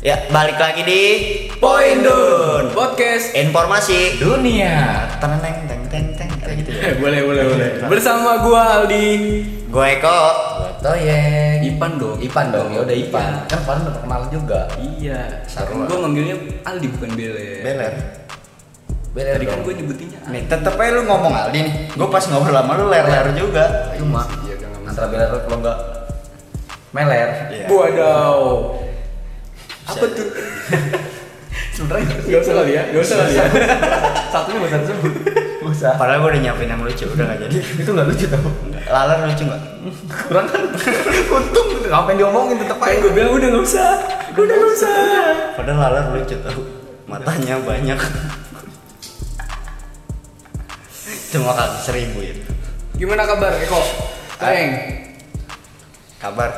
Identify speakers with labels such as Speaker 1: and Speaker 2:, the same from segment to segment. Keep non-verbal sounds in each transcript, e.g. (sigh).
Speaker 1: Ya, balik lagi di Poindun.
Speaker 2: Podcast
Speaker 1: Informasi
Speaker 2: Dunia.
Speaker 1: teneng teng teng teng kayak gitu ya.
Speaker 2: Eh, boleh boleh boleh. Bersama gua Aldi.
Speaker 1: Gue Eko.
Speaker 3: Toyeng.
Speaker 2: Eh, Ipan dong.
Speaker 3: Ipan dong, ya udah
Speaker 2: Iya.
Speaker 3: Ipan. Kan kemarin udah kenal juga.
Speaker 2: Iya.
Speaker 3: Sarua.
Speaker 2: Gua manggilnya Aldi bukan Bele.
Speaker 1: Beler.
Speaker 3: Beda
Speaker 2: Tadi kan
Speaker 3: dong.
Speaker 2: gua nyebutinnya Aldi.
Speaker 1: ya, Nih, tetep aja lu ngomong Aldi nih. Gue pas ngobrol sama lu ler-ler juga.
Speaker 3: Cuma
Speaker 2: Iya,
Speaker 3: antara beda kalau enggak meler.
Speaker 1: Iya.
Speaker 2: Wadaw. Ya. Apa tuh? (laughs) Sebenarnya nggak usah kali ya, nggak usah (laughs) kali ya. Satunya nggak usah disebut.
Speaker 3: Nggak usah.
Speaker 1: Padahal gue udah nyiapin yang lucu, udah gak jadi.
Speaker 3: Itu enggak lucu tau.
Speaker 1: Laler lucu gak?
Speaker 2: (laughs)
Speaker 3: Kurang kan. Untung ngapain diomongin tetep
Speaker 2: gitu, Apa yang gua bilang udah nggak usah, udah nggak usah.
Speaker 1: Padahal laler lucu tau. Matanya banyak. Cuma kali seribu ya.
Speaker 2: Gimana kabar Eko? Teng.
Speaker 1: Kabar.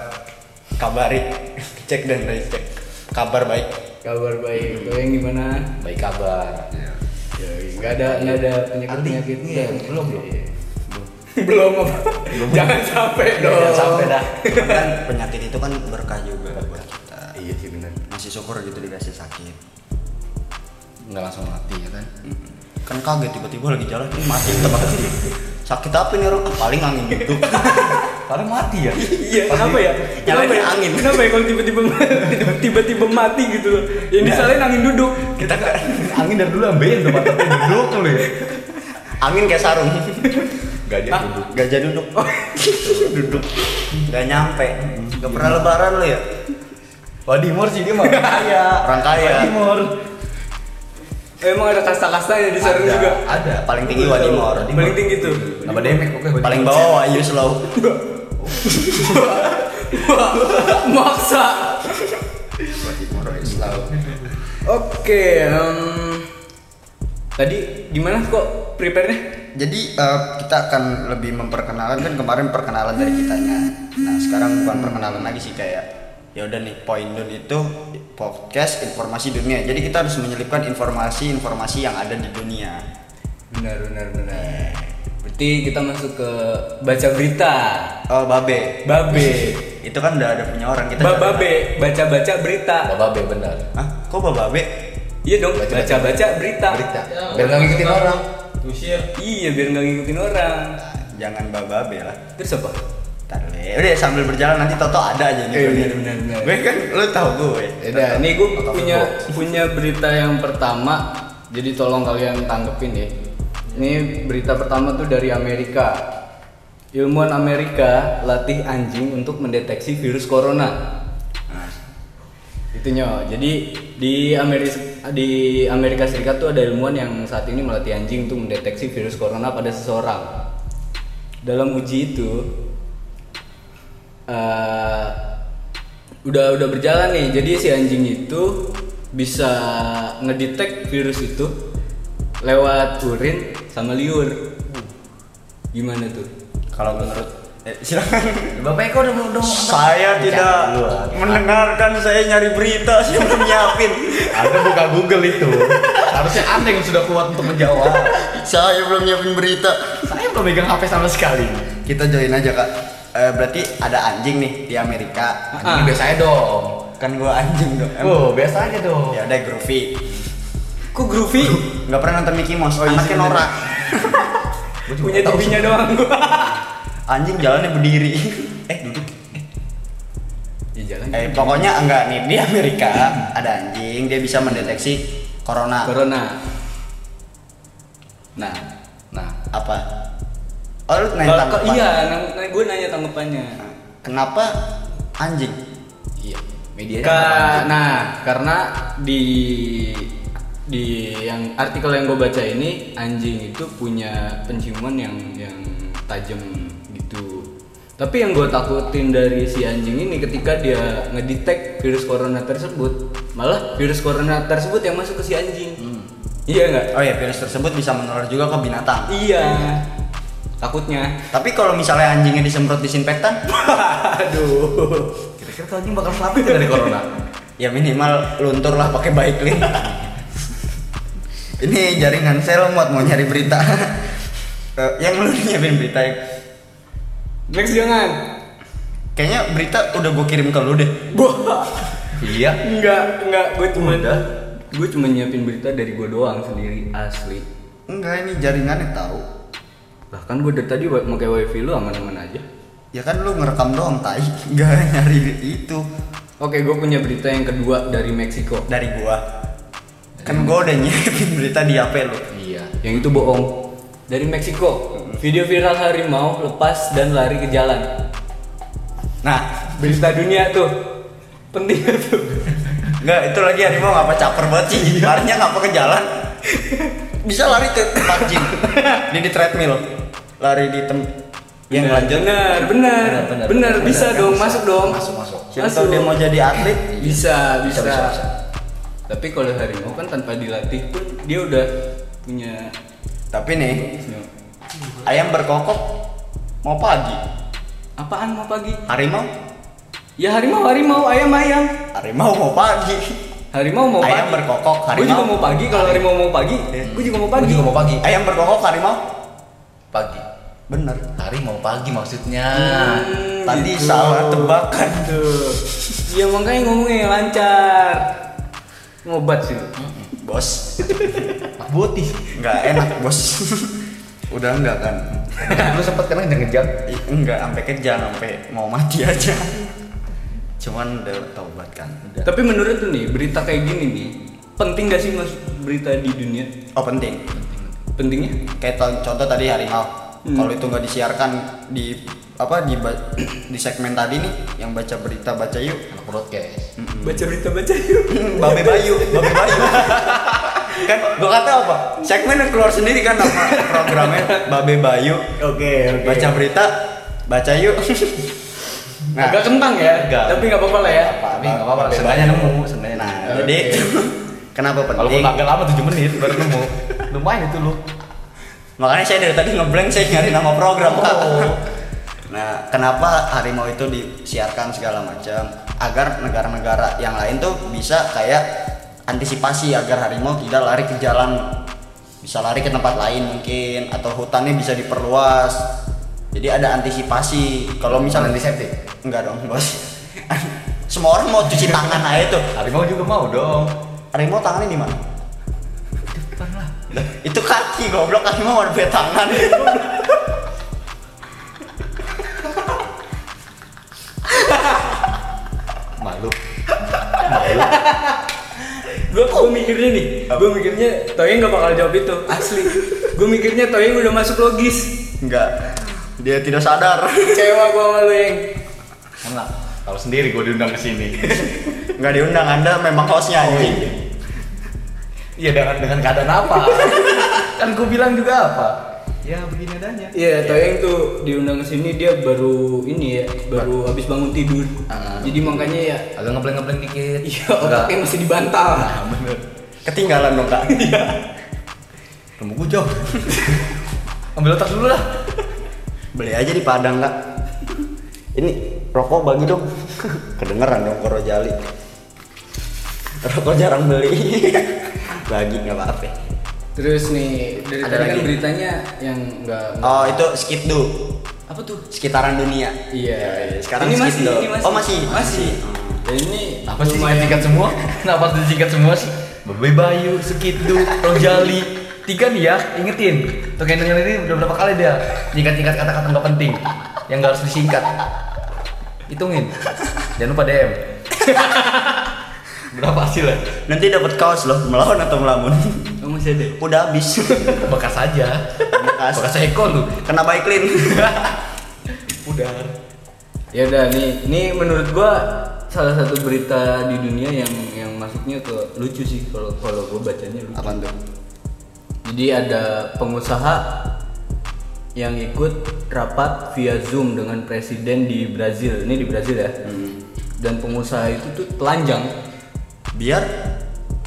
Speaker 1: Kabari. (laughs) Cek dan recheck. Kabar baik.
Speaker 2: Kabar baik. Teng gimana?
Speaker 3: Baik kabar.
Speaker 2: Iya. Yoi, Nggak ada nggak ada penyakit penyakit
Speaker 3: Aldi, iya, belum, belum.
Speaker 2: belum apa? Jangan sampai dong.
Speaker 3: Iya, Jangan sampai dah.
Speaker 1: kan (laughs) penyakit itu kan berkah juga buat kita
Speaker 3: Iya sih benar.
Speaker 1: masih syukur gitu dikasih sakit
Speaker 3: Enggak langsung mati ya kan.
Speaker 1: kan kaget tiba-tiba lagi jalan ini mati tempat mati sakit apa nih orang ah, paling angin gitu
Speaker 3: Padahal mati ya.
Speaker 2: Iya,
Speaker 3: Pas
Speaker 2: kenapa
Speaker 3: di-
Speaker 2: ya? Kenapa ya?
Speaker 1: nyalain angin.
Speaker 2: Kenapa ya kalau tiba-tiba (laughs) tiba-tiba mati gitu loh.
Speaker 3: Iya.
Speaker 2: Yang disalahin angin duduk.
Speaker 1: kita nggak
Speaker 3: (laughs) Angin dari dulu ambein tuh mata duduk tuh ya.
Speaker 1: angin kayak sarung
Speaker 3: Gajah duduk. Oh.
Speaker 1: gajah duduk duduk nggak nyampe nggak pernah lebaran lo ya
Speaker 3: Wadimor sih dia mah kaya.
Speaker 1: Orang kaya.
Speaker 3: Wadimor.
Speaker 2: Emang ada kasta-kasta yang disalahin
Speaker 3: Ada,
Speaker 2: juga. Gitu.
Speaker 3: Ada.
Speaker 1: paling tinggi wadimor
Speaker 2: Paling tinggi tuh.
Speaker 3: Apa demek oke Wadimor.
Speaker 1: paling bawah wayu slow
Speaker 2: Wah, (laughs) maksa.
Speaker 3: Wadimor Islam.
Speaker 2: Oke, em, tadi gimana kok prepare-nya?
Speaker 1: jadi eh, kita akan lebih memperkenalkan kan kemarin perkenalan dari kitanya nah sekarang bukan perkenalan lagi sih kayak ya udah nih Poindun itu podcast informasi dunia jadi kita harus menyelipkan informasi-informasi yang ada di dunia
Speaker 2: Benar, benar, benar. Berarti kita masuk ke baca berita.
Speaker 1: oh babe
Speaker 2: Babe.
Speaker 1: itu kan udah ada punya orang kita cari-
Speaker 2: Bababe, baca-baca berita.
Speaker 3: Bapak B benar.
Speaker 1: Hah? kok babe
Speaker 2: Iya dong, baca-baca berita.
Speaker 3: Berita. Biar nggak ngikutin orang.
Speaker 2: Iya, biar nggak ngikutin orang.
Speaker 1: Nah, jangan babe lah
Speaker 2: Terus apa?
Speaker 1: Ntar deh. udah sambil berjalan nanti Toto ada aja nih
Speaker 2: Eh,
Speaker 1: gue
Speaker 2: benar,
Speaker 1: liat.
Speaker 2: benar, benar.
Speaker 1: gue kan lo tau gue
Speaker 2: Nah, nih gue
Speaker 3: Atau
Speaker 2: punya
Speaker 3: Facebook.
Speaker 2: punya berita yang pertama. Jadi tolong kalian tanggepin ya. Ini berita pertama tuh dari Amerika. Ilmuwan Amerika latih anjing untuk mendeteksi virus corona. Itunya. Jadi di Amerika di Amerika Serikat tuh ada ilmuwan yang saat ini melatih anjing untuk mendeteksi virus corona pada seseorang. Dalam uji itu eh, udah udah berjalan nih. Jadi si anjing itu bisa ngedetect virus itu lewat urin sama liur. Gimana tuh?
Speaker 1: kalau menurut eh, silakan
Speaker 3: Bapak Eko udah mau dong.
Speaker 1: Saya tidak mendengarkan saya nyari berita, saya belum nyiapin.
Speaker 3: Anda buka Google itu. Harusnya Anda yang sudah kuat untuk menjawab.
Speaker 1: (laughs) saya belum nyiapin berita.
Speaker 3: Saya belum megang HP sama sekali.
Speaker 1: Kita join aja kak. Eh, berarti ada anjing nih di Amerika.
Speaker 2: Ah.
Speaker 3: Ini biasanya dong.
Speaker 1: Kan gua anjing dong. Em.
Speaker 3: Oh, biasanya dong.
Speaker 1: Ya udah Groovy.
Speaker 2: Kok groovy?
Speaker 1: Nggak pernah nonton Mickey Mouse.
Speaker 3: iya
Speaker 1: Anaknya
Speaker 3: sih, bener.
Speaker 1: Nora.
Speaker 3: Gua juga
Speaker 2: Punya
Speaker 3: tahu
Speaker 2: tipinya doang (laughs) gua.
Speaker 1: Anjing jalannya berdiri. eh duduk.
Speaker 2: Ya jalan.
Speaker 1: Eh pokoknya enggak nih di Amerika ada anjing dia bisa mendeteksi corona.
Speaker 2: Corona. Nah, nah.
Speaker 1: Apa? Oh lu nanya
Speaker 2: Kalau
Speaker 1: tanggapan.
Speaker 2: iya, gue nanya tanggapannya.
Speaker 1: Kenapa anjing?
Speaker 3: Iya. Medianya.
Speaker 2: Ka- nah, karena di di yang artikel yang gue baca ini anjing itu punya penciuman yang yang tajam gitu. Tapi yang gue takutin dari si anjing ini ketika dia ngedetect virus corona tersebut, malah virus corona tersebut yang masuk ke si anjing.
Speaker 3: Hmm.
Speaker 2: Iya nggak?
Speaker 1: Oh ya virus tersebut bisa menular juga ke binatang.
Speaker 2: Iya. Takutnya.
Speaker 1: Tapi kalau misalnya anjingnya disemprot disinfektan,
Speaker 2: Aduh.
Speaker 3: Kira-kira tuh anjing bakal selamat ya dari corona.
Speaker 1: ya minimal luntur lah pakai baiklin. (laughs) Ini jaringan sel muat mau nyari berita. (laughs) Eh, yang lu nyiapin berita ya.
Speaker 2: Next jangan.
Speaker 1: Kayaknya berita udah gue kirim ke lu deh.
Speaker 2: Wah.
Speaker 3: Iya.
Speaker 2: Enggak, enggak. Gue cuman
Speaker 3: Udah.
Speaker 2: gue cuma nyiapin berita dari gue doang sendiri asli.
Speaker 1: Enggak ini jaringannya tahu.
Speaker 2: Bahkan gue dari tadi wa- pakai wifi lu aman-aman aja.
Speaker 1: Ya kan lu ngerekam doang tai. (laughs) Enggak nyari itu
Speaker 2: Oke, gue punya berita yang kedua dari Meksiko.
Speaker 1: dari gua. Kan gua udah nyiapin berita di HP lu.
Speaker 3: Iya.
Speaker 2: Yang itu bohong. Dari Meksiko, video viral harimau lepas dan lari ke jalan.
Speaker 1: Nah,
Speaker 2: Berita dunia tuh. Penting tuh.
Speaker 1: Enggak, itu lagi harimau ngapa caper banget sih. Larinya ngapa ke jalan? Iya. Bisa lari ke tempat gym. (laughs) Ini di treadmill. Iya. Lari di tem yang
Speaker 2: Benar,
Speaker 1: lanjut.
Speaker 2: Benar, benar.
Speaker 3: Benar, benar,
Speaker 2: Benar,
Speaker 3: benar,
Speaker 2: bisa
Speaker 3: benar.
Speaker 2: dong, masuk dong.
Speaker 3: Masuk, masuk.
Speaker 1: Siapa tahu dia mau jadi atlet.
Speaker 2: bisa bisa,
Speaker 3: Bisa, bisa, bisa.
Speaker 2: tapi kalau harimau kan tanpa dilatih pun dia udah punya
Speaker 1: Tapi nih, ayam berkokok mau pagi.
Speaker 2: apaan mau pagi
Speaker 1: Harimau,
Speaker 2: ya harimau harimau ayam ayam
Speaker 1: harimau mau pagi.
Speaker 2: harimau mau
Speaker 1: Ayam
Speaker 2: pagi
Speaker 1: berkokok,
Speaker 2: gue
Speaker 1: harimau.
Speaker 2: juga mau pagi kalau harimau mau pagi
Speaker 1: Iya.
Speaker 2: gue juga mau
Speaker 3: Eh. Gua
Speaker 2: pagi
Speaker 3: juga mau pagi.
Speaker 1: Ayam berkokok harimau.
Speaker 3: Pagi.
Speaker 1: Bener.
Speaker 3: Hari mau pagi maksudnya.
Speaker 2: Hmm,
Speaker 1: Tadi
Speaker 2: gitu.
Speaker 1: salah tebakan.
Speaker 2: Tuh. ya makanya ngomongnya lancar ngobat sih lu.
Speaker 3: Hmm.
Speaker 1: Bos,
Speaker 3: Pak Boti. (laughs)
Speaker 1: nggak enak bos. (laughs) Udah enggak kan?
Speaker 3: Lu sempet kan ngejar-ngejar.
Speaker 1: Ih, Enggak, sampai kejang, sampai mau mati (laughs) aja. Cuman udah taubat kan. Udah.
Speaker 2: tapi menurut lu nih berita kayak gini nih penting gak sih mas berita di dunia
Speaker 1: Oh penting.
Speaker 2: pentingnya
Speaker 1: Kayak to- contoh tadi harimau.
Speaker 2: Hmm.
Speaker 1: Kalau itu nggak disiarkan di apa di ba- di segmen tadi nih yang baca berita baca yuk.
Speaker 3: Anak broadcast.
Speaker 2: baca berita baca yuk
Speaker 1: (laughs) Babe Bayu, Babe Bayu. (laughs) kan gua kata apa? Segmen yang keluar sendiri kan nama programnya Babe Bayu.
Speaker 2: Oke, oke.
Speaker 1: Baca berita, baca yuk. (laughs) Nah,
Speaker 2: agak kentang ya,
Speaker 1: Agak.
Speaker 2: tapi nggak apa-apa lah ya.
Speaker 3: Tapi nggak apa-apa,
Speaker 1: Babe
Speaker 3: seenggaknya
Speaker 1: Bayu.
Speaker 3: nemu, seenggaknya
Speaker 1: Nah,
Speaker 3: nemu.
Speaker 1: jadi (laughs) kenapa
Speaker 3: Walaupun
Speaker 1: penting?
Speaker 3: agak lama 7 menit baru (laughs) nemu. Lumayan itu lu.
Speaker 1: Makanya saya dari tadi ngeblank saya nyari nama program. Kak.
Speaker 3: Oh.
Speaker 1: Nah, kenapa harimau itu disiarkan segala macam agar negara-negara yang lain tuh bisa kayak antisipasi agar harimau tidak lari ke jalan bisa lari ke tempat lain mungkin atau hutannya bisa diperluas. Jadi ada antisipasi. Kalau misalnya
Speaker 3: antiseptik.
Speaker 1: enggak dong, Bos. (laughs) Semua orang mau cuci tangan aja tuh.
Speaker 3: Harimau juga mau dong.
Speaker 1: Harimau tangannya di mana? Depan lah. Itu kaki goblok harimau mau pakai tangan.
Speaker 3: (laughs) Malu.
Speaker 2: Gue gue mikirnya nih, gue mikirnya Toyeng nggak bakal jawab itu asli. Gue mikirnya Toyeng udah masuk logis.
Speaker 1: Enggak. Dia tidak sadar.
Speaker 2: Kecewa gue sama lu yang.
Speaker 3: Enak. Tahu sendiri gue diundang ke sini. (laughs)
Speaker 1: Enggak diundang Anda memang hostnya
Speaker 3: Oh,
Speaker 1: anjing.
Speaker 3: Iya dengan dengan keadaan apa? (laughs) kan gue bilang juga apa? Ya begini adanya.
Speaker 2: Iya, Toyeng tuh diundang ke sini dia baru ini ya, baru habis bangun tidur.
Speaker 3: Ah.
Speaker 2: Jadi makanya ya, (laughs)
Speaker 3: Agak ngebleng ngebleng dikit.
Speaker 2: iya otaknya masih dibantah.
Speaker 3: Nah, bener.
Speaker 1: Ketinggalan dong, Kak.
Speaker 3: Temu gue Iya. jauh. Ambil otak dulu lah.
Speaker 1: Beli aja di Padang, Kak. Ini rokok bagi dong. Kedengeran dong koro jali. Rokok jarang beli. bagi nggak apa-apa.
Speaker 2: Terus nih
Speaker 1: Ada
Speaker 2: dari tadi kan
Speaker 1: lagi?
Speaker 2: beritanya yang nggak
Speaker 1: Oh, itu skip do.
Speaker 2: apa tuh?
Speaker 1: Sekitaran dunia.
Speaker 2: Iya.
Speaker 1: Sekarang
Speaker 2: ini
Speaker 1: skip
Speaker 2: masih,
Speaker 1: do.
Speaker 2: ini masih.
Speaker 1: Oh, masih.
Speaker 2: Masih. Ya, ini
Speaker 3: Apa sih singkat (laughs) semua? Kenapa harus disingkat semua sih? Bebe Bayu, Sekidu, Rojali Tiga nih ya, ingetin Tuh kayak nanya ini udah berapa kali dia Singkat-singkat kata-kata nggak penting Yang nggak harus disingkat Hitungin Jangan lupa DM (laughs) Berapa hasilnya?
Speaker 1: Nanti dapat kaos loh, melawan atau melamun.
Speaker 2: Oh, masih ada.
Speaker 1: Udah habis.
Speaker 3: Bekas aja
Speaker 1: Bekas.
Speaker 3: Bekas Eko lu
Speaker 1: Kena bike clean.
Speaker 3: Udah
Speaker 2: Ya udah nih, nih menurut gua salah satu berita di dunia yang yang masuknya ke lucu sih kalau kalau gua bacanya lucu.
Speaker 1: Apaan tuh?
Speaker 2: Jadi ada pengusaha yang ikut rapat via Zoom dengan presiden di Brazil. Ini di Brazil ya.
Speaker 1: Hmm.
Speaker 2: Dan pengusaha itu tuh telanjang.
Speaker 1: Biar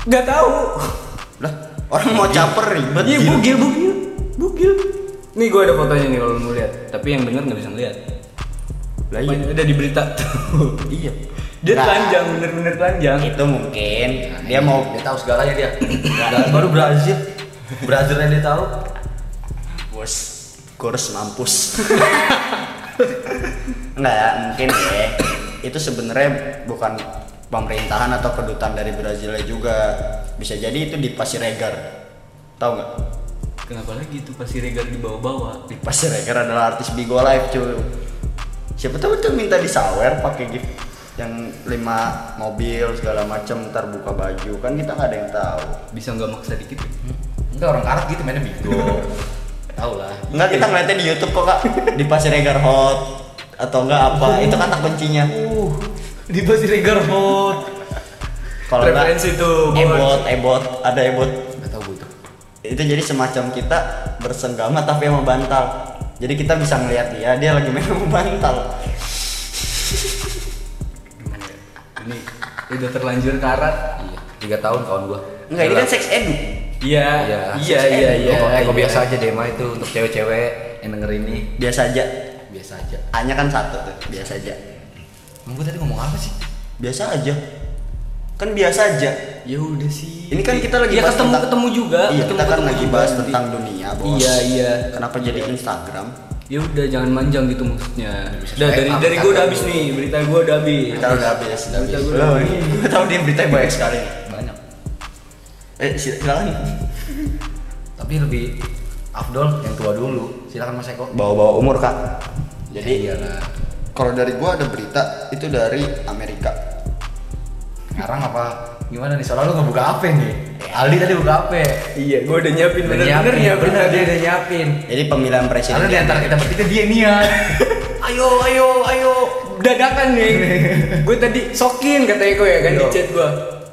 Speaker 2: Gak tahu.
Speaker 1: (laughs) lah orang mau caper ribet.
Speaker 2: Iya
Speaker 1: Gil.
Speaker 2: bugil bugil bugil. Nih gua ada fotonya nih kalau lu mau lihat. Tapi yang denger nggak bisa ngeliat.
Speaker 1: Lah iya.
Speaker 2: Ada di berita (laughs) tuh.
Speaker 1: Iya.
Speaker 2: Dia
Speaker 1: Nah.
Speaker 2: telanjang, bener-bener telanjang.
Speaker 1: Itu mungkin dia mau Iya.
Speaker 3: Iya. Nah, Dia tahu segalanya dia Nah, Baru Brazil Brazilnya dia tahu
Speaker 1: bos kurs mampus. (laughs) Enggak ya, mungkin ya. Itu sebenarnya bukan pemerintahan atau kedutaan dari Brazil juga bisa jadi itu di Pasiregar tahu nggak
Speaker 2: Kenapa lagi tuh pasti regar dibawa-bawa?
Speaker 1: di Pasiregar adalah artis Bigo Live cuy siapa tahu tuh minta disawer pakai gift yang lima mobil segala macam ntar buka baju kan kita nggak ada yang tahu
Speaker 2: Bisa nggak maksa dikit?
Speaker 3: Enggak orang karat gitu mainnya bigo. Tahu lah.
Speaker 1: Enggak kita ngeliatnya di YouTube (laughs) kok kak di Pasiregar Hot atau enggak apa itu kata kuncinya
Speaker 3: Uh, di pasti regar hot.
Speaker 1: kalau enggak
Speaker 2: Referensi tuh, bos.
Speaker 1: ebot ebot ada ebot
Speaker 3: Enggak tahu gue tuh.
Speaker 1: itu jadi semacam kita bersenggama tapi sama bantal jadi kita bisa ngeliat dia dia lagi main sama bantal
Speaker 2: Ini udah terlanjur karat.
Speaker 3: Iya, tiga tahun kawan gua.
Speaker 1: enggak ini kan sex edu
Speaker 2: Iya,
Speaker 3: Iya,
Speaker 2: iya, iya, iya.
Speaker 3: Kok
Speaker 2: iya.
Speaker 3: kok biasa aja deh mah itu untuk cewek-cewek yang denger ini
Speaker 1: biasa aja
Speaker 3: biasa aja.
Speaker 1: hanya kan satu tuh biasa aja
Speaker 3: Emang gua tadi ngomong apa sih?
Speaker 1: biasa aja kan biasa aja
Speaker 2: Ya udah sih.
Speaker 1: ini kan kita lagi
Speaker 2: ya,
Speaker 1: bahas
Speaker 2: ketemu
Speaker 1: tentang-
Speaker 2: ketemu juga.
Speaker 1: iya
Speaker 2: ketemu,
Speaker 1: kita kan
Speaker 2: ketemu
Speaker 1: lagi
Speaker 2: juga
Speaker 1: bahas
Speaker 2: nanti.
Speaker 1: tentang dunia bos
Speaker 2: Iya, iya.
Speaker 1: kenapa jadi Instagram
Speaker 2: Ya udah jangan manjang gitu maksudnya.
Speaker 3: bisa
Speaker 2: Udah
Speaker 3: swipe
Speaker 2: dari
Speaker 3: up,
Speaker 2: dari gue
Speaker 3: kan.
Speaker 2: udah habis nih, berita gue udah habis.
Speaker 1: kita udah habis udah
Speaker 2: Berita
Speaker 1: habis
Speaker 2: gua udah
Speaker 1: Loh, gue tahu dia berita banyak sekali
Speaker 3: Banyak.
Speaker 1: eh sil- silakan
Speaker 3: Tapi lebih Afdol yang tua dulu. Silakan Mas Eko.
Speaker 1: bawa-bawa umur kak jadi
Speaker 3: iyalah.
Speaker 1: kalau dari gua ada berita itu dari Amerika
Speaker 3: Sekarang apa? Gimana nih? Soalnya lu nggak buka HP nih. Aldi tadi buka HP.
Speaker 2: Iya, gue udah nyiapin
Speaker 3: Udah
Speaker 2: bener bener ya
Speaker 3: bener dia udah nyiapin.
Speaker 1: jadi pemilihan presiden
Speaker 3: Karena di antara kita bertiga dia (laughs) niat.
Speaker 2: Ayo, ayo, ayo. Dadakan
Speaker 3: (laughs)
Speaker 2: nih. gue tadi sokin kata Eko ya kan di
Speaker 3: Yo.
Speaker 2: chat gue.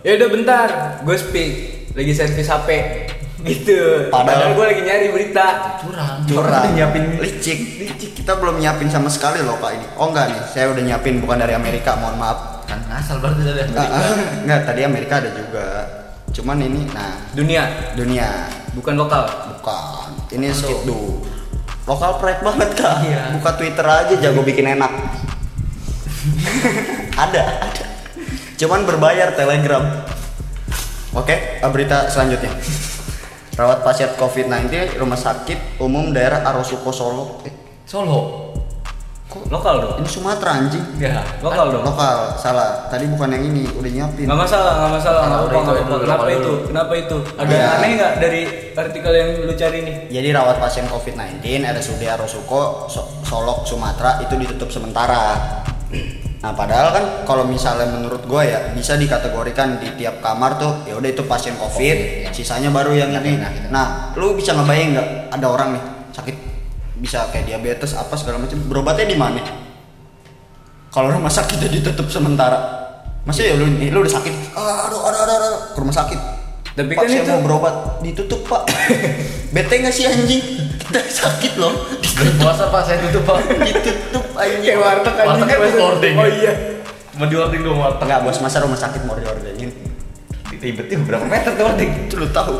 Speaker 2: Ya udah bentar, gue speak. Lagi servis HP. (laughs) Gitu.
Speaker 1: Padahal-
Speaker 2: Padahal, gue lagi nyari berita.
Speaker 3: Curang.
Speaker 1: curang
Speaker 3: Dia nyiapin
Speaker 1: licik licik kita belum nyiapin sama sekali loh kak ini oh enggak nih saya udah nyiapin bukan dari Amerika mohon maaf
Speaker 3: kan ngasal berarti tadi
Speaker 1: enggak,
Speaker 3: Amerika.
Speaker 1: enggak Ah, tadi Amerika ada juga cuman ini nah
Speaker 2: Dunia,
Speaker 1: dunia
Speaker 2: bukan lokal.
Speaker 1: bukan ini skip dulu lokal pride banget kak
Speaker 3: Iya.
Speaker 1: buka Twitter aja jago bikin enak
Speaker 3: (laughs)
Speaker 1: ada ada cuman berbayar Telegram oke eh, berita selanjutnya rawat pasien COVID-19 rumah sakit umum daerah Arosuko Solo eh,
Speaker 3: Solo.
Speaker 2: Lokal dong.
Speaker 1: ini Sumatera anjing
Speaker 3: Ya.
Speaker 2: Lokal dong.
Speaker 1: lokal salah tadi bukan yang ini udah nyiapin
Speaker 2: Nggak masalah, nggak masalah, nggak
Speaker 3: Kalau
Speaker 2: apa-apa,
Speaker 3: itu,
Speaker 2: nggak
Speaker 3: itu
Speaker 2: apa-apa.
Speaker 3: dulu, Iya.
Speaker 2: Kenapa
Speaker 3: kalau
Speaker 2: itu?
Speaker 3: dulu.
Speaker 2: Kenapa itu? Ada yang
Speaker 1: Ya.
Speaker 2: aneh nggak dari artikel yang lu cari nih?
Speaker 1: Jadi rawat pasien COVID-19 RSUD Arosuko So- Solok Sumatera itu ditutup sementara. Nah padahal kan kalau misalnya menurut gue ya bisa dikategorikan di tiap kamar tuh ya udah itu pasien COVID,
Speaker 3: Covid, ya.
Speaker 1: sisanya baru yang ini.
Speaker 3: enak, enak.
Speaker 1: Nah lu bisa ngebayang nggak ada orang nih sakit bisa kayak diabetes apa segala macam berobatnya di mana? Kalau rumah sakit udah ditutup sementara, masih ya lu, lu udah sakit, "Ah, aduh aduh aduh, aduh, ke rumah sakit.
Speaker 2: Tapi
Speaker 1: Pak,
Speaker 2: kan
Speaker 1: saya
Speaker 2: itu-
Speaker 1: mau berobat ditutup pak. Bete nggak sih anjing? Kita sakit loh.
Speaker 3: Belum puasa pak, saya tutup pak. (laughs)
Speaker 1: ditutup anjing.
Speaker 2: Kayak warteg
Speaker 3: anjing.
Speaker 2: anjing.
Speaker 3: Warteg recording.
Speaker 2: Oh iya.
Speaker 3: Mau diording dong warteg.
Speaker 1: Enggak bos masa rumah sakit mau diordengin.
Speaker 3: Ribetnya berapa meter tuh ording?
Speaker 1: Itu lu tahu.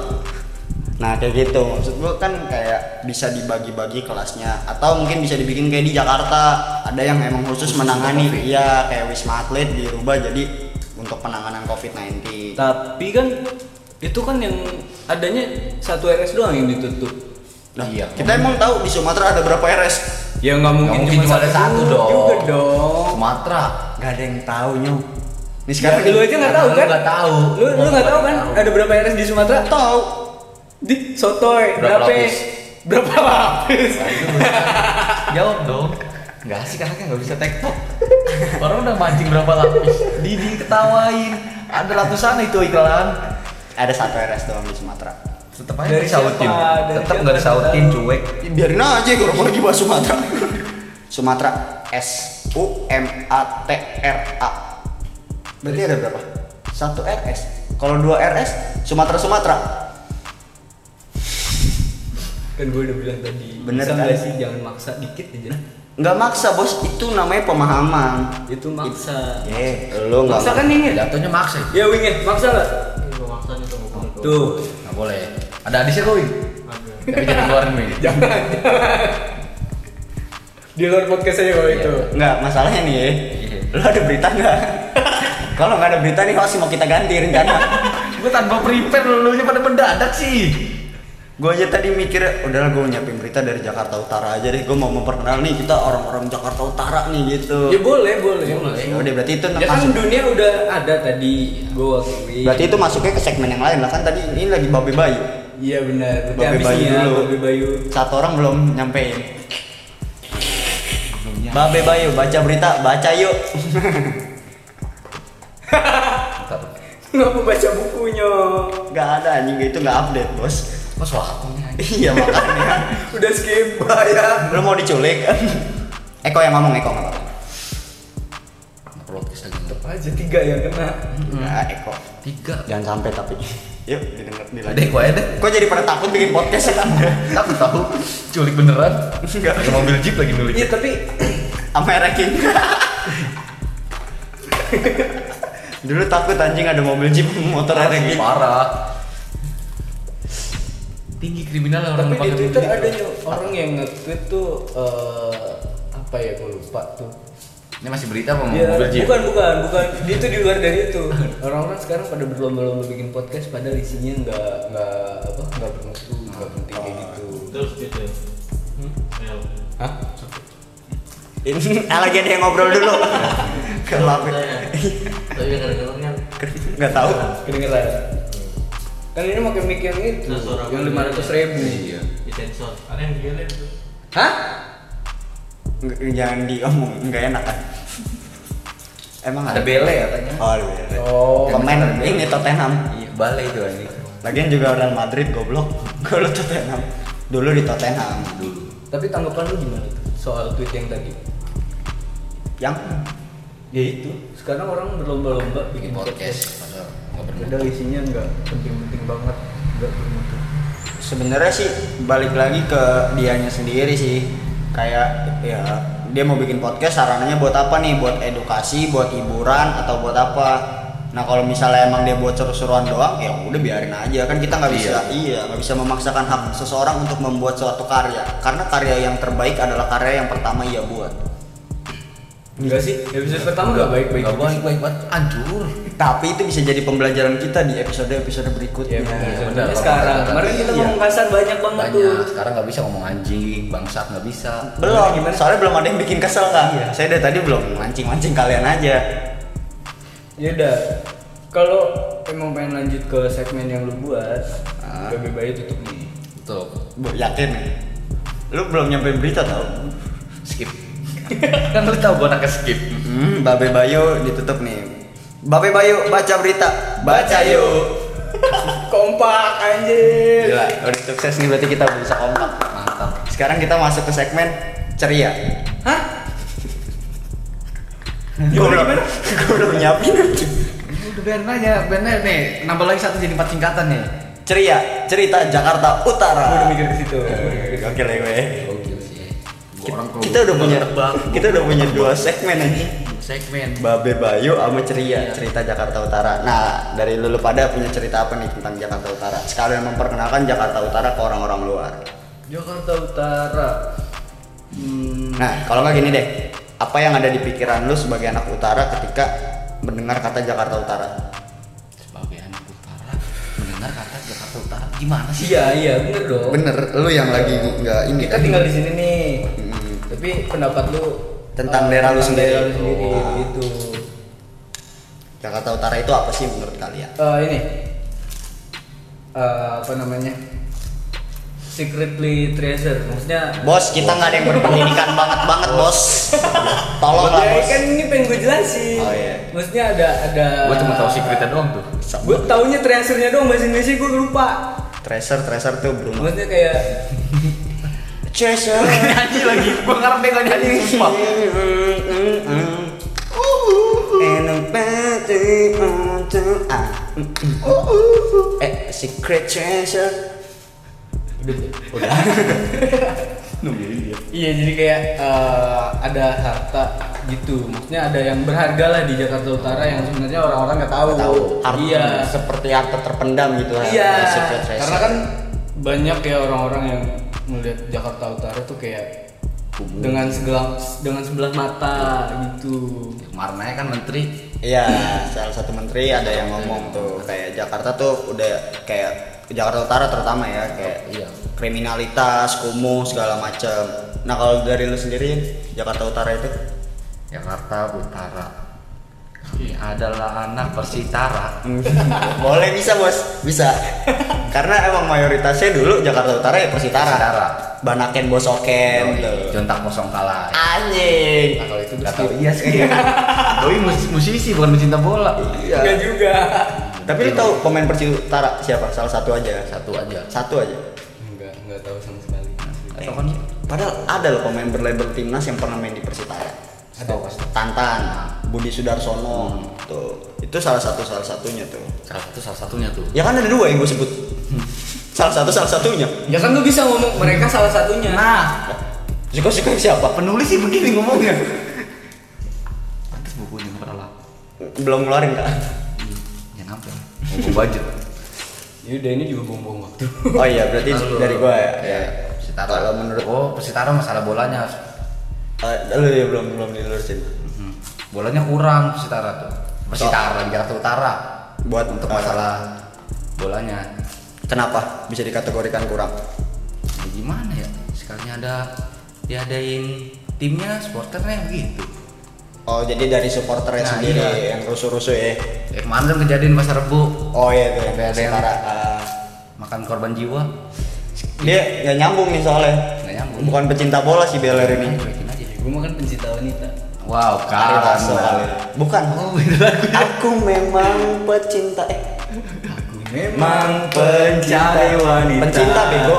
Speaker 1: Nah kayak gitu maksud gua kan kayak bisa dibagi-bagi kelasnya atau mungkin bisa dibikin kayak di Jakarta ada yang emang khusus,
Speaker 3: Khusus
Speaker 1: menangani
Speaker 3: untuk COVID.
Speaker 1: iya kayak wisma atlet dirubah jadi untuk penanganan COVID-19.
Speaker 2: Tapi kan itu kan yang adanya satu RS doang yang ditutup.
Speaker 1: Nah,
Speaker 3: Iya.
Speaker 1: kita emang tahu di Sumatera ada berapa RS?
Speaker 2: Ya nggak mungkin,
Speaker 3: mungkin cuma ada satu dong.
Speaker 2: Juga dong.
Speaker 3: Sumatera.
Speaker 1: Gak ada yang Iya, tahu nyong. Nih
Speaker 2: Sekarang
Speaker 1: sekarang
Speaker 2: lu aja nggak tahu
Speaker 3: Karena lu
Speaker 2: kan?
Speaker 3: nggak tahu.
Speaker 2: Lu lu nggak tahu kan?
Speaker 3: Nggak tahu.
Speaker 2: Ada berapa RS di Sumatera?
Speaker 1: tahu.
Speaker 2: Di Sotoy berapa?
Speaker 3: Berapa lapis?
Speaker 2: Berapa lapis?
Speaker 3: Jawab dong. Enggak sih kakaknya nggak bisa tektok. Orang udah mancing berapa lapis. Didi ketawain. Ada ratusan itu iklan.
Speaker 1: Ada satu RS doang di Sumatera.
Speaker 3: Tetep aja
Speaker 2: Dari
Speaker 3: disautin.
Speaker 2: siapa? Dari
Speaker 3: Tetep
Speaker 2: siapa?
Speaker 3: nggak disautin cuek.
Speaker 1: Ya, biarin aja kalau mau lagi bahas Sumatera Sumatera S U M A T R A berarti ada berapa satu RS kalau dua RS Sumatera Sumatera
Speaker 2: Kan gue udah bilang tadi.
Speaker 1: Bener
Speaker 2: bisa
Speaker 1: kan?
Speaker 2: nggak sih jangan maksa dikit aja.
Speaker 1: nggak maksa bos itu namanya pemahaman
Speaker 2: Itu maksa.
Speaker 1: eh lo nggak
Speaker 2: Maksa kan ini?
Speaker 3: Jatuhnya maksa.
Speaker 2: Ya wingnya maksa lah. Tuh.
Speaker 3: Nggak boleh. Ada hadisnya kok, Win? Tapi jangan keluarin, Win.
Speaker 2: Jangan. jangan. Di luar podcast aja kalau itu.
Speaker 1: nggak masalahnya nih ya
Speaker 3: Iya.
Speaker 1: lo ada berita nggak (laughs) kalau nggak ada berita (laughs) nih host mau kita ganti rencana
Speaker 3: Gue tanpa prepare lulunya pada mendadak sih.
Speaker 1: Gue aja tadi mikir, udahlah gue nyiapin berita dari Jakarta Utara aja deh. Gue mau memperkenal nih kita orang-orang Jakarta Utara nih gitu.
Speaker 2: Ya boleh, boleh. boleh.
Speaker 1: Ya udah berarti itu
Speaker 2: Ya kan
Speaker 1: masuk-
Speaker 2: dunia udah ada tadi gue wakili.
Speaker 1: berarti itu masuknya ke segmen yang lain lah kan tadi ini lagi babe bayu.
Speaker 2: Iya benar.
Speaker 1: Babe
Speaker 2: Tapi
Speaker 1: Bayu
Speaker 2: habisnya
Speaker 1: dulu.
Speaker 2: Babe Bayu. (laughs)
Speaker 1: Satu orang belum nyampein. Babe Bayu baca berita, baca yuk. (laughs)
Speaker 2: Nggak mau baca bukunya.
Speaker 1: Gak ada anjing itu gak update bos. (laughs)
Speaker 3: Mas waktunya.
Speaker 1: iya makanya.
Speaker 2: Udah skeba ya.
Speaker 1: Lu mau diculik? (laughs) Eko yang ngomong Eko nggak apa-apa.
Speaker 3: Podcast lagi
Speaker 2: Apa aja tiga yang kena.
Speaker 1: Nggak, Eko.
Speaker 3: tiga.
Speaker 1: Hmm. Jangan sampai tapi. Yuk didengar
Speaker 3: Ada
Speaker 1: dilanjut.
Speaker 3: yang deh.
Speaker 1: Kok jadi pada takut bikin podcast ya?
Speaker 3: Aku tahu. Culik beneran. Enggak. Ada mobil jeep lagi nulik.
Speaker 2: Iya tapi
Speaker 1: Sama Rekin. Dulu takut anjing ada mobil jeep motor
Speaker 3: Parah,
Speaker 1: Rekin.
Speaker 3: Parah. Tinggi kriminal orang
Speaker 2: tapi di
Speaker 3: pakai
Speaker 2: Twitter
Speaker 3: mobil
Speaker 2: ada
Speaker 3: jeep.
Speaker 2: yo orang yang nge-tweet tuh eh, apa ya gue lupa tuh.
Speaker 3: Ini masih berita
Speaker 1: Hmm,
Speaker 3: apa mau
Speaker 2: Ya,
Speaker 3: mobil jeep?
Speaker 2: bukan bukan bukan dia itu di luar dari itu orang-orang sekarang pada berlomba-lomba bikin podcast padahal isinya nggak nggak apa nggak bermutu nggak penting kayak gitu
Speaker 4: Terus gitu.
Speaker 3: Hmm?
Speaker 4: Ya.
Speaker 2: Hah?
Speaker 1: Ini ah, lagi ada yang ngobrol dulu. Kelap.
Speaker 3: ya.
Speaker 4: Tapi yang kadang-kadang kan
Speaker 1: Enggak tahu.
Speaker 2: kedengeran kan ini pakai mic yang itu
Speaker 4: Nah, suara
Speaker 2: yang
Speaker 4: gua
Speaker 2: lima ratus ribu
Speaker 3: Iya.
Speaker 4: disensor. Ada yang gila itu.
Speaker 2: hah
Speaker 1: Nggak- Jangan diomong, enggak enak kan. Emang
Speaker 3: Ada bele katanya.
Speaker 1: Oh, ada bele.
Speaker 2: Oh.
Speaker 1: pemain ini Tottenham.
Speaker 3: Iya, bale itu anjing.
Speaker 1: Lagian juga Real Madrid goblok. Kalau Tottenham. Dulu di Tottenham.
Speaker 3: Dulu.
Speaker 2: tapi tanggapan lu gimana tuh soal tweet yang tadi
Speaker 1: Yang
Speaker 2: ya itu sekarang orang berlomba-lomba bikin podcast,
Speaker 3: padahal nggak bermutu.
Speaker 2: padahal isinya nggak penting-penting banget nggak bermutu
Speaker 1: sebenarnya sih balik lagi ke dianya sendiri sih. Kayak ya dia mau bikin podcast sarananya buat apa nih? Buat edukasi, buat hiburan atau buat apa? Nah kalau misalnya emang dia buat seru-seruan doang, ya udah biarin aja kan kita nggak bisa iya nggak bisa memaksakan hak seseorang untuk membuat suatu karya karena karya yang terbaik adalah karya yang pertama ia buat.
Speaker 2: enggak sih episode pertama nggak baik-baik
Speaker 3: Nggak baik baik banget. Anjur.
Speaker 1: Tapi itu bisa jadi pembelajaran kita di episode-episode
Speaker 2: ya,
Speaker 1: berikutnya.
Speaker 2: bener.
Speaker 3: bener.
Speaker 2: sekarang kemarin kita
Speaker 1: Iya.
Speaker 2: ngomong kasar banyak banget tuh
Speaker 3: Banyak. Sekarang nggak bisa ngomong anjing, bangsat nggak bisa.
Speaker 1: Belum, soalnya belum ada yang bikin kesel kan? Saya dari tadi belum mancing-mancing kalian aja.
Speaker 2: ya udah kalau emang pengen lanjut ke segmen yang lu buat
Speaker 1: Ah.
Speaker 2: lebih baik tutup nih
Speaker 3: Betul.
Speaker 1: Bu, yakin? Lu belum nyampe berita tau?
Speaker 3: Skip. kan lu tahu gua anaknya skip.
Speaker 1: Hmm, Babe Bayu ditutup nih. Babe Bayu baca berita, baca yuk.
Speaker 2: kompak anjir
Speaker 1: Gila, udah sukses nih berarti kita bisa kompak.
Speaker 3: Mantap.
Speaker 1: Sekarang kita masuk ke segmen ceria.
Speaker 2: hah
Speaker 1: (laughs) Gue belum, gue belum nyiapin.
Speaker 3: Udah biarin aja, biarin aja nih. Nambah lagi satu jadi empat singkatan nih.
Speaker 1: Ceria, cerita Jakarta Utara.
Speaker 2: Gua udah mikir ke situ
Speaker 1: Oke lah ya gue.
Speaker 3: Oke sih. Orang kalau
Speaker 1: Kita udah punya, kita udah punya dua segmen aja.
Speaker 3: segmen.
Speaker 1: Babe Bayu sama Ceria cerita Jakarta Utara. Nah dari lulu pada punya cerita apa nih tentang Jakarta Utara? Sekalian memperkenalkan Jakarta Utara ke orang-orang luar.
Speaker 2: Jakarta Utara hmm,
Speaker 1: Nah kalau nggak gini deh, apa yang ada di pikiran lu sebagai anak Utara ketika mendengar kata Jakarta Utara?
Speaker 3: Sebagai anak utara mendengar kata Jakarta Utara gimana sih?
Speaker 2: iya iya bener dong
Speaker 1: Bener, lu yang lagi nggak ini
Speaker 2: kita
Speaker 1: kan?
Speaker 2: tinggal di sini nih
Speaker 1: Hmm.
Speaker 2: tapi pendapat lu
Speaker 1: Tentang
Speaker 2: eh,
Speaker 1: daerah lu
Speaker 2: tentang
Speaker 1: sendiri.
Speaker 2: daerah lu sendiri,
Speaker 1: Oh.
Speaker 2: gitu
Speaker 1: Jakarta Utara itu apa sih menurut kalian?
Speaker 2: Eh, ini Eh, apa namanya secretly treasure maksudnya
Speaker 1: Bos, kita nggak ada yang berpendidikan banget banget bos.
Speaker 2: (laughs)
Speaker 1: Tolong Oh, lah
Speaker 2: Ya,
Speaker 1: bos.
Speaker 2: kan ini pengen gue jelasin
Speaker 1: Oh, iya.
Speaker 2: maksudnya ada ada
Speaker 3: Gua cuma tahu secretnya doang (laughs) tuh.
Speaker 2: gue taunya treasure-nya doang bahasa Indonesia gue lupa
Speaker 1: Tracer, tracer tuh Bruno.
Speaker 2: maksudnya kayak
Speaker 1: Tracer.
Speaker 3: Nyanyi lagi. Gua ngarep deh nggak nyanyi sumpah.
Speaker 1: Eh, secret treasure.
Speaker 2: iya jadi kayak eh, ada harta gitu maksudnya ada yang berharga lah di Jakarta Utara yang sebenarnya orang-orang nggak tahu,
Speaker 1: Harta
Speaker 2: iya
Speaker 1: seperti harta terpendam gitu. harta
Speaker 2: iya
Speaker 1: secret treasure.
Speaker 2: karena kan banyak ya orang-orang yang melihat Jakarta Utara tuh kayak dengan sebelah dengan sebelah mata gitu
Speaker 3: Kemarin aja kan menteri
Speaker 1: Iya, salah satu menteri ada yang ngomong tuh kayak Jakarta tuh udah kayak Jakarta Utara terutama ya kayak
Speaker 3: Iya.
Speaker 1: kriminalitas, kumuh segala macam. Nah kalau dari lu sendiri Jakarta Utara itu
Speaker 3: Jakarta Utara Ini adalah anak persitara
Speaker 1: (laughs) boleh bisa bos bisa karena emang mayoritasnya dulu Jakarta Utara ya Persitara,
Speaker 3: Persitara. Oh, iya.
Speaker 1: Banaken Bosoken tuh.
Speaker 3: Jontak kosong kalah
Speaker 1: anjing
Speaker 2: Nah, kalau itu
Speaker 3: Gak
Speaker 2: mesti
Speaker 3: tau iya sih (laughs) Doi mus- musisi bukan pecinta bola
Speaker 5: Enggak juga.
Speaker 1: tapi lu tahu pemain Persitara siapa salah satu aja
Speaker 3: Satu aja
Speaker 1: satu aja
Speaker 2: enggak enggak tahu sama sekali.
Speaker 3: Atau kan
Speaker 1: padahal ada loh pemain berlabel timnas yang pernah main di Persitara
Speaker 3: Ada pasti
Speaker 1: Tantan Budi Sudarsono tuh itu salah satu salah satunya tuh
Speaker 3: Salah satu salah satunya tuh
Speaker 1: ya kan ada dua yang gue sebut
Speaker 3: Hmm.
Speaker 1: salah satu salah satunya
Speaker 5: Ya kan lu bisa ngomong mereka salah satunya.
Speaker 3: Nah
Speaker 1: suka suka siapa
Speaker 3: penulis sih begini ngomongnya Pantes bukunya gak pernah lah
Speaker 1: belum ngeluarin kak
Speaker 3: Jangan sampai Ya, Buku budget
Speaker 2: Ini Ya udah ini juga bom-bom waktu.
Speaker 1: oh iya berarti
Speaker 3: Lalu-
Speaker 1: dari gue ya,
Speaker 3: Iya,
Speaker 1: ya.
Speaker 3: Persitara
Speaker 1: kalau menurut
Speaker 3: Oh persitara masalah bolanya
Speaker 1: Eh, lu ya belum belum dilurusin
Speaker 3: Mhm. Bolanya kurang Persitara tuh. Persitara di Jakarta Utara.
Speaker 1: buat
Speaker 3: Untuk
Speaker 1: eh,
Speaker 3: masalah bolanya.
Speaker 1: kenapa bisa dikategorikan kurang
Speaker 3: Ya gimana ya? Sekalinya ada diadain timnya sporternya begitu.
Speaker 1: oh jadi dari supporternya
Speaker 3: Nah,
Speaker 1: sendiri
Speaker 3: iya.
Speaker 1: yang rusuh-rusuh ya
Speaker 3: Ya kemarin kan kejadian pas Rebo
Speaker 1: oh iya tuh
Speaker 3: Ada- ada yang-
Speaker 1: Persitara. Ah.
Speaker 3: makan korban jiwa.
Speaker 1: dia nggak nyambung nih soalnya
Speaker 3: Nggak nyambung.
Speaker 1: bukan pecinta bola si Beller ini
Speaker 3: Nah, cuekin aja.
Speaker 5: Gue mah kan pencinta wanita.
Speaker 3: Wow, Oh,
Speaker 1: Ari Lasso kali.
Speaker 3: karena
Speaker 1: Bukan. Aku memang pecinta eh
Speaker 5: Memang pencari wanita.
Speaker 1: Pencinta bego.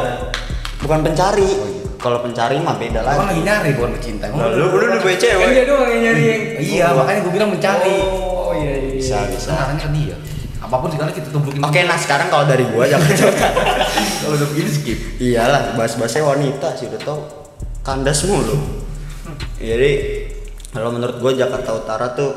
Speaker 1: Bukan pencari. Kalau pencari mah beda
Speaker 3: Aku kan
Speaker 1: lagi.
Speaker 3: lagi nyari bukan mencinta. Emang
Speaker 1: Lalu lu udah gue
Speaker 5: Kan dia
Speaker 1: cewek.
Speaker 5: doang yang nyari yang
Speaker 3: Iya, makanya gue bilang mencari.
Speaker 5: Oh iya iya.
Speaker 1: Bisa
Speaker 3: Kita
Speaker 1: bisa.
Speaker 3: Sarannya ke dia. Apapun sekali kita tumbukin.
Speaker 1: Oke, nah sekarang kalau dari gua jangan (laughs) cerita.
Speaker 3: kalau udah begini skip.
Speaker 1: Iyalah, bahas-bahasnya wanita sih udah tau kandas mulu. Jadi kalau menurut gua Jakarta Utara tuh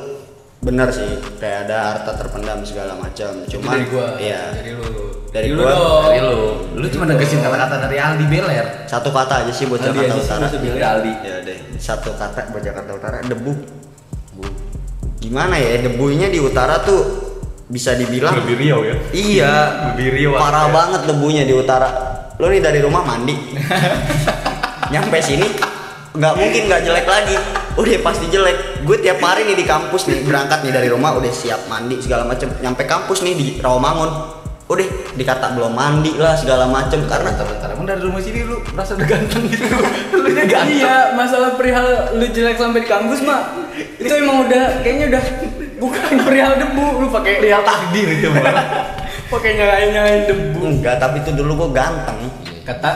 Speaker 1: benar sih kayak ada harta terpendam segala macam. Cuman
Speaker 2: dari gua.
Speaker 1: iya.
Speaker 2: Dari lu.
Speaker 1: Dari
Speaker 2: lu
Speaker 1: gua.
Speaker 2: dong.
Speaker 3: Dari lu, lu cuma negesin
Speaker 2: (laughs)
Speaker 3: kata-kata dari Aldi Beler.
Speaker 1: Satu kata aja sih buat
Speaker 2: Aldi
Speaker 1: Jakarta
Speaker 2: aja sih,
Speaker 1: Utara.
Speaker 2: maksud Billy.
Speaker 1: Aldi. Ya deh. Satu kata buat Jakarta Utara debu. Gimana ya debunya di utara tuh bisa dibilang
Speaker 3: Riau ya.
Speaker 1: iya
Speaker 3: lebih riuh
Speaker 1: parah
Speaker 3: aja.
Speaker 1: banget debunya di utara lo nih dari rumah mandi nyampe sini nggak mungkin nggak jelek lagi udah pasti jelek gue tiap hari nih di kampus nih berangkat nih dari rumah udah siap mandi segala macem nyampe kampus nih di Rawamangun udah dikata belum mandi lah segala macem karena
Speaker 3: Bentar, emang dari rumah sini lu merasa udah ganteng gitu? lu nya ganteng?
Speaker 5: Iya, masalah perihal lu jelek sampai di kampus mah itu emang udah kayaknya udah bukan perihal debu lu pakai perihal takdir itu pakai nyalain nyalain debu
Speaker 1: enggak tapi itu dulu gue ganteng
Speaker 2: Kata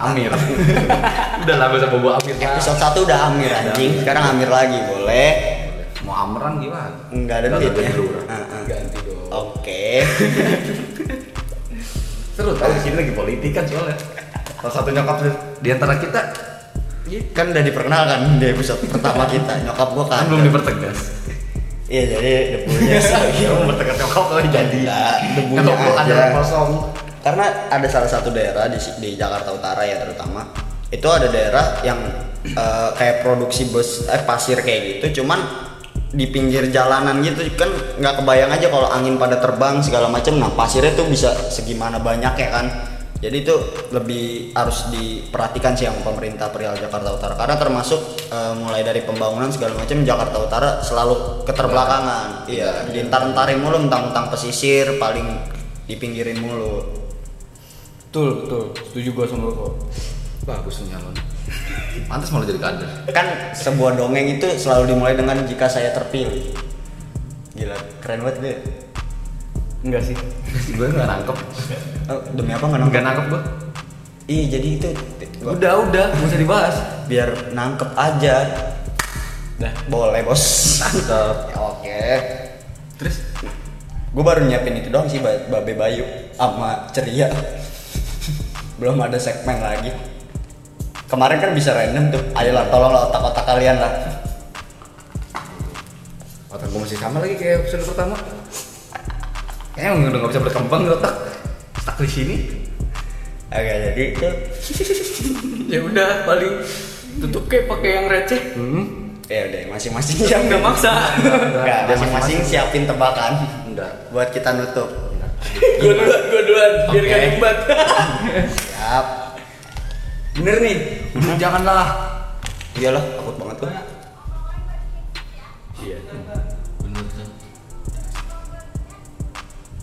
Speaker 3: Amir Udah lah bahasa bobo Amir
Speaker 1: episode 1 udah Amir
Speaker 3: Iya.
Speaker 1: anjing sekarang Amir lagi boleh
Speaker 3: Mau Amran gimana?
Speaker 1: enggak ada
Speaker 3: Nggak
Speaker 1: duit
Speaker 3: ada
Speaker 1: ya
Speaker 3: duit.
Speaker 1: Heeh.
Speaker 2: ganti dong.
Speaker 1: oke
Speaker 3: Seru tau di sini lagi politik kan soalnya Salah satu nyokap lu di antara kita
Speaker 1: kan udah diperkenalkan di episode pertama kita nyokap gue kan
Speaker 3: kan belum dipertegas
Speaker 1: iya jadi
Speaker 3: (laughs)
Speaker 1: debunya sih
Speaker 3: Iya, mau bertegas nyokap kalau jadi
Speaker 1: Nah, debunya
Speaker 3: Kalau gua
Speaker 1: aja.
Speaker 3: ada kosong
Speaker 1: karena ada salah satu daerah di, di Jakarta Utara ya terutama itu ada daerah yang eh, kayak produksi bus eh, pasir kayak gitu cuman di pinggir jalanan gitu kan nggak kebayang aja kalau angin pada terbang segala macam nah pasirnya tuh bisa segimana banyak ya kan jadi itu lebih harus diperhatikan sih yang pemerintah perihal Jakarta Utara karena termasuk eh, mulai dari pembangunan segala macam Jakarta Utara selalu keterbelakangan iya dientar-entarin mulu mentang-mentang pesisir paling dipinggirin mulu
Speaker 2: Betul, betul. Setuju gua sama lu kok.
Speaker 3: Bagus tuh nyalon Pantes malah jadi kader
Speaker 1: kan sebuah dongeng itu selalu dimulai dengan jika saya terpilih gila keren banget gue
Speaker 2: Enggak sih.
Speaker 3: Gue gak nangkep
Speaker 1: Oh, demi apa nggak nangkep
Speaker 3: Gak nangkep gue
Speaker 1: iya jadi itu gua-
Speaker 3: Udah, udah, gak usah dibahas
Speaker 1: biar nangkep aja
Speaker 2: Dah.
Speaker 1: boleh bos
Speaker 3: Nangkep
Speaker 1: Ya, (laughs) oke
Speaker 2: Terus
Speaker 1: gue baru nyiapin itu doang sih Ba- babe bayu sama ceria (laughs) belum ada segmen lagi kemarin kan bisa random tuh ayolah tolonglah otak-otak kalian lah
Speaker 3: Otak gue masih sama lagi kayak episode pertama. Kayaknya udah gak bisa berkembang di otak. Stuck di sini.
Speaker 1: oke jadi itu
Speaker 5: (laughs) ya udah paling tutup kayak pakai yang receh
Speaker 3: Hmm.
Speaker 1: ya udah masing-masing siapin
Speaker 5: nggak maksa
Speaker 1: Enggak, masing-masing siapin tebakan
Speaker 3: Enggak.
Speaker 1: buat kita nutup.
Speaker 3: Enggak.
Speaker 5: Gua duluan, gua duluan, biar gak
Speaker 1: Oke.
Speaker 5: nyumbat.
Speaker 1: Siap.
Speaker 5: Bener nih.
Speaker 3: Janganlah.
Speaker 1: Iyalah, takut banget gua.
Speaker 2: Iya.
Speaker 6: Bener kan?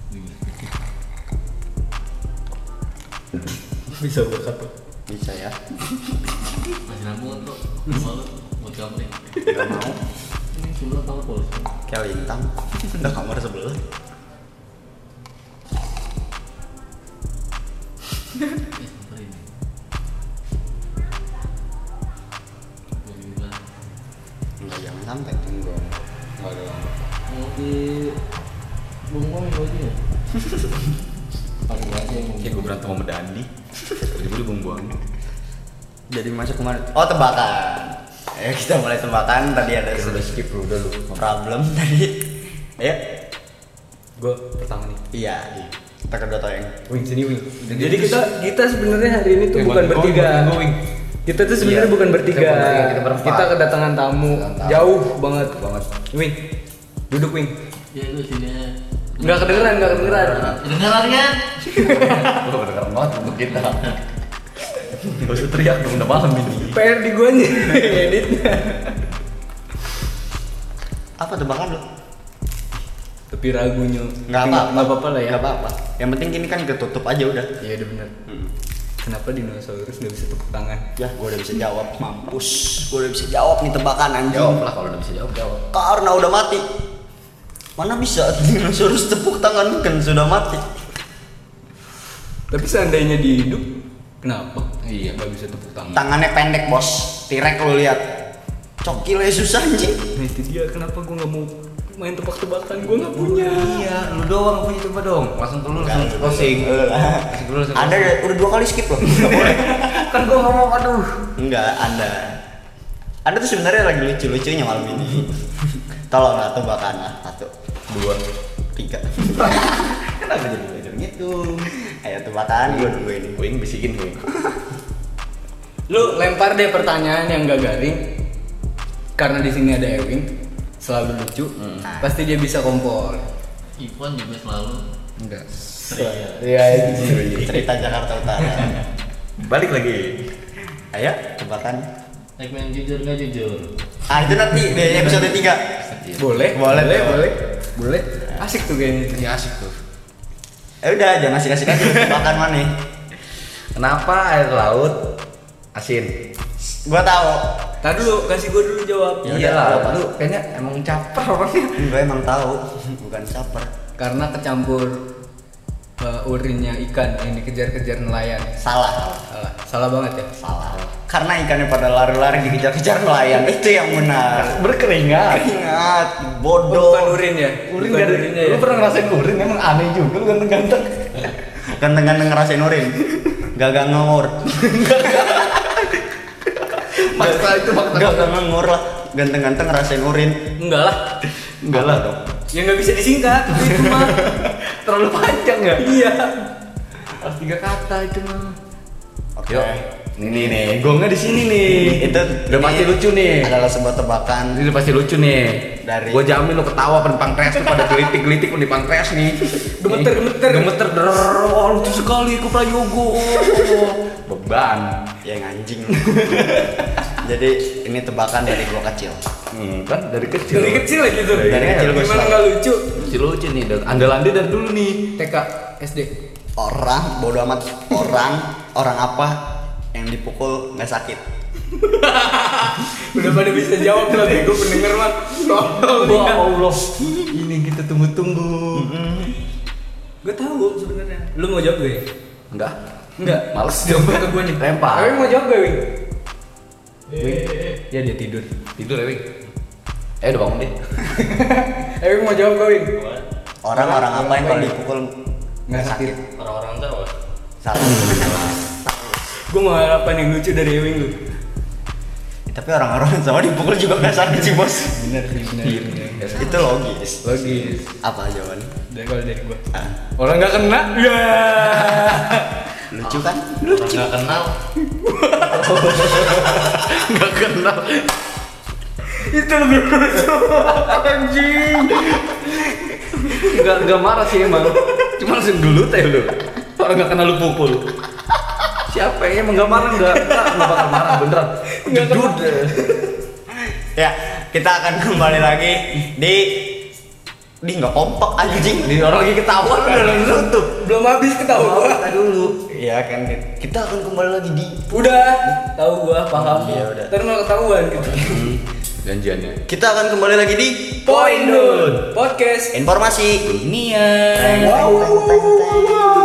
Speaker 6: Iya.
Speaker 2: Bisa buat apa?
Speaker 1: Bisa ya.
Speaker 6: Masih nabung kan, kok. Malu, buat kamu nih.
Speaker 1: Enggak mau.
Speaker 6: Ini sebelah tahu polos.
Speaker 1: Kayak lintang. Udah kamar sebelah.
Speaker 6: Eh, bentar ini. Gua bilang,
Speaker 1: Enggak jangan sampai tunggu. Enggak dong.
Speaker 6: Mau di bungkong ya, aja ya? Pakai gua aja yang bungkong.
Speaker 2: Kayak gue berantem sama Dandi. Jadi gue dibuang-buang.
Speaker 1: Jadi masuk kemarin. Oh, tebakan. Ayo kita mulai tebakan. Tadi ada
Speaker 2: Udah skip lu, udah lu.
Speaker 1: problem (laughs) tadi. Ayo.
Speaker 2: Gue pertama nih.
Speaker 1: Iya. Kita kedua toyeng.
Speaker 2: Wing sini wing.
Speaker 5: Jadi kita kita sebenarnya hari ini tuh
Speaker 2: Eh,
Speaker 5: bukan
Speaker 2: Bang
Speaker 5: bertiga.
Speaker 2: Going, Bang Going.
Speaker 5: Kita tuh sebenarnya
Speaker 3: Iya,
Speaker 5: bukan bertiga.
Speaker 3: kita bukan bertiga, kita berempat.
Speaker 5: Kita kedatangan tamu
Speaker 1: Kedatangan tamu.
Speaker 5: jauh banget.
Speaker 2: Banget. Wing. Duduk wing.
Speaker 6: Ya, lu sini aja.
Speaker 5: Nggak kedengeran, nggak kedengeran.
Speaker 6: Kedengeran
Speaker 3: (laughs)
Speaker 6: kan?
Speaker 3: Gue kedengeran banget untuk kita. Gak usah teriak dong, udah malam ini.
Speaker 5: PR di gua nih (laughs) editnya.
Speaker 1: Apa tebakan lu?
Speaker 2: Tapi ragunya.
Speaker 1: Enggak apa-apa.
Speaker 2: Enggak apa-apa lah ya.
Speaker 1: Enggak apa-apa. Yang penting ini kan ketutup aja udah.
Speaker 2: Iya udah bener.
Speaker 5: Hmm.
Speaker 2: Kenapa dinosaurus nggak bisa tepuk tangan?
Speaker 1: Ya, gua udah bisa jawab, mampus. Gua udah bisa jawab nih tebakan anjing.
Speaker 3: Jawab lah kalau udah bisa jawab jawab.
Speaker 1: Karena udah mati. Mana bisa (laughs) dinosaurus tepuk tangan kan sudah mati.
Speaker 2: Tapi seandainya di hidup, kenapa? Iya nggak bisa tepuk tangan.
Speaker 1: Tangannya pendek, Bos. Tirek lu lihat. Cokilnya susah anjing.
Speaker 2: Nah itu dia kenapa gue nggak mau main tebak-tebakan gue nggak punya.
Speaker 3: Iya, lu doang punya coba dong. Langsung ke lu langsung closing. Langsung ke lu langsung
Speaker 1: Eh, Anda
Speaker 3: closing.
Speaker 1: udah dua kali skip (laughs) loh. Nggak boleh.
Speaker 3: kan gua ngomong aduh.
Speaker 1: Enggak, Anda. Anda tuh sebenarnya lagi lucu-lucunya malam (laughs) ini. Tolonglah tebakan lah satu, dua, tiga.
Speaker 3: Kenapa jadi belajar gitu?
Speaker 1: Ayo tebakan gua dulu ini.
Speaker 3: Wing bisikin wing.
Speaker 2: Lu lempar deh pertanyaan yang gak garing. Karena di sini ada Ewing, selalu lucu.
Speaker 3: Hmm.
Speaker 2: Pasti dia bisa kompor.
Speaker 6: Ivan juga selalu
Speaker 2: Enggak.
Speaker 6: ceria.
Speaker 2: Iya.
Speaker 1: Cerita Jakarta Utara.
Speaker 3: Balik lagi.
Speaker 1: Ayo tebakan.
Speaker 6: Segmen jujur nggak jujur.
Speaker 1: Ah itu nanti di episode 3.
Speaker 2: Boleh.
Speaker 1: Boleh,
Speaker 2: Boleh.
Speaker 1: tuh.
Speaker 2: Boleh. Boleh. Asik tuh kayaknya. Ya.
Speaker 3: Ini asik tuh.
Speaker 1: Eh udah jangan asik-asik aja tebakan mana.
Speaker 3: Kenapa air laut asin?
Speaker 1: Gua tahu.
Speaker 2: Tadi dulu kasih gue dulu jawab.
Speaker 1: Ya
Speaker 3: Iya.
Speaker 1: udah,
Speaker 3: Iyalah,
Speaker 1: apa?
Speaker 3: lu kayaknya emang caper orangnya.
Speaker 1: Gua emang tahu, bukan saper.
Speaker 2: Karena kecampur eh, urinnya ikan yang dikejar-kejar nelayan.
Speaker 1: Salah,
Speaker 2: Salah. Salah banget ya.
Speaker 1: salah. Karena ikannya pada lari-lari dikejar-kejar nelayan. Itu yang benar.
Speaker 3: Berkeringat.
Speaker 1: Ingat,
Speaker 2: Oh, bukan
Speaker 1: bodoh.
Speaker 2: urin ya.
Speaker 3: Urin
Speaker 2: bukan
Speaker 3: gak ada.
Speaker 2: urinnya
Speaker 3: Lu
Speaker 2: ya.
Speaker 3: pernah ngerasain urin emang aneh juga lu ganteng-ganteng.
Speaker 1: Ganteng-ganteng ngerasain urin. Gagal ngawur.
Speaker 3: Fakta itu fakta.
Speaker 1: Gagal ngawur lah. Ganteng-ganteng ngerasain urin.
Speaker 2: Enggak lah.
Speaker 3: Enggak lah dong.
Speaker 2: Ya nggak bisa disingkat. Itu mah.
Speaker 3: (laughs) Terlalu panjang ya?
Speaker 2: Iya.
Speaker 3: Harus tiga kata itu mah.
Speaker 1: Oke.
Speaker 3: Yuk. Ini nih, gongnya di sini nih.
Speaker 1: Itu
Speaker 3: udah pasti
Speaker 1: ini
Speaker 3: lucu nih.
Speaker 1: Adalah sebuah tebakan.
Speaker 3: Ini udah pasti lucu nih.
Speaker 1: Dari-
Speaker 3: Gua jamin lu ketawa penumpang crash tuh pada gelitik-gelitik penumpang crash nih.
Speaker 2: Gemeter, gemeter.
Speaker 3: Gemeter. der. Wah, lucu sekali kuprayogo. Beban.
Speaker 1: Ya yang
Speaker 3: (laughs)
Speaker 1: anjing. Jadi ini tebakan dari gua kecil.
Speaker 3: Hmm, kan dari kecil.
Speaker 5: Dari kecil lagi tuh.
Speaker 3: Dari kecil gua
Speaker 5: Gimana
Speaker 1: selalu.
Speaker 5: nggak lucu?
Speaker 3: Lucu lucu nih. dan Andalan dia dari dulu nih.
Speaker 2: TK, SD.
Speaker 1: Orang bodoh amat orang orang apa yang dipukul nggak sakit.
Speaker 5: Udah pada bisa jawab lah bego pendengar mah.
Speaker 2: Oh,
Speaker 5: Tolol
Speaker 3: Wah,
Speaker 5: dia.
Speaker 2: iya.
Speaker 3: Allah. Ini kita tunggu-tunggu.
Speaker 5: Gue tahu sebenarnya. Lu mau jawab gue?
Speaker 3: Enggak.
Speaker 5: Enggak.
Speaker 3: Males jawab ke gue nih. Lempar.
Speaker 5: Tapi mau jawab gue,
Speaker 2: (laughs)
Speaker 5: Wing?
Speaker 2: Ya dia tidur.
Speaker 3: Tidur ya, Wing. Eh, udah bangun deh.
Speaker 5: Eh, Wing mau jawab gue, Wing?
Speaker 1: Orang orang apa yang kalau dipukul
Speaker 2: Nggak sakit.
Speaker 6: Orang-orang tahu.
Speaker 1: salah.
Speaker 5: Gue mau harapan yang lucu dari Ewing lu.
Speaker 1: Ya, Tapi orang-orang sama dipukul juga nggak sakit sih bos.
Speaker 2: Bener sih, bener.
Speaker 5: Iya,
Speaker 2: bener.
Speaker 1: Itu logis.
Speaker 2: Logis.
Speaker 1: Apa jawabannya?
Speaker 2: Dari kalau dari gua.
Speaker 1: Ah,
Speaker 2: Orang nggak kena.
Speaker 5: Iya.
Speaker 2: Ya.
Speaker 1: lucu kan?
Speaker 6: Orang nggak
Speaker 3: (laughs)
Speaker 6: kenal.
Speaker 3: Enggak kenal.
Speaker 5: Itu lebih lucu. Anjing.
Speaker 3: Enggak enggak marah sih emang. Cuma langsung gelut ya lu. Orang gak kenal lu pukul. Siapa yang emang gak marah gak? Gak, gak bakal marah beneran. Jedut.
Speaker 1: ya kita akan kembali lagi di di nggak kompak anjing
Speaker 3: Ini orang lagi ketawa lu udah langsung tutup.
Speaker 2: Belum habis ketawa gua.
Speaker 3: dulu.
Speaker 1: ya kan kita akan kembali lagi di
Speaker 2: Udah, tahu gua, paham.
Speaker 1: Iya, udah.
Speaker 2: Terus malah ketahuan gitu.
Speaker 7: janjiannya
Speaker 1: kita akan kembali lagi di
Speaker 2: Poin Dun. Podcast
Speaker 1: informasi
Speaker 3: Nian.
Speaker 1: Wow.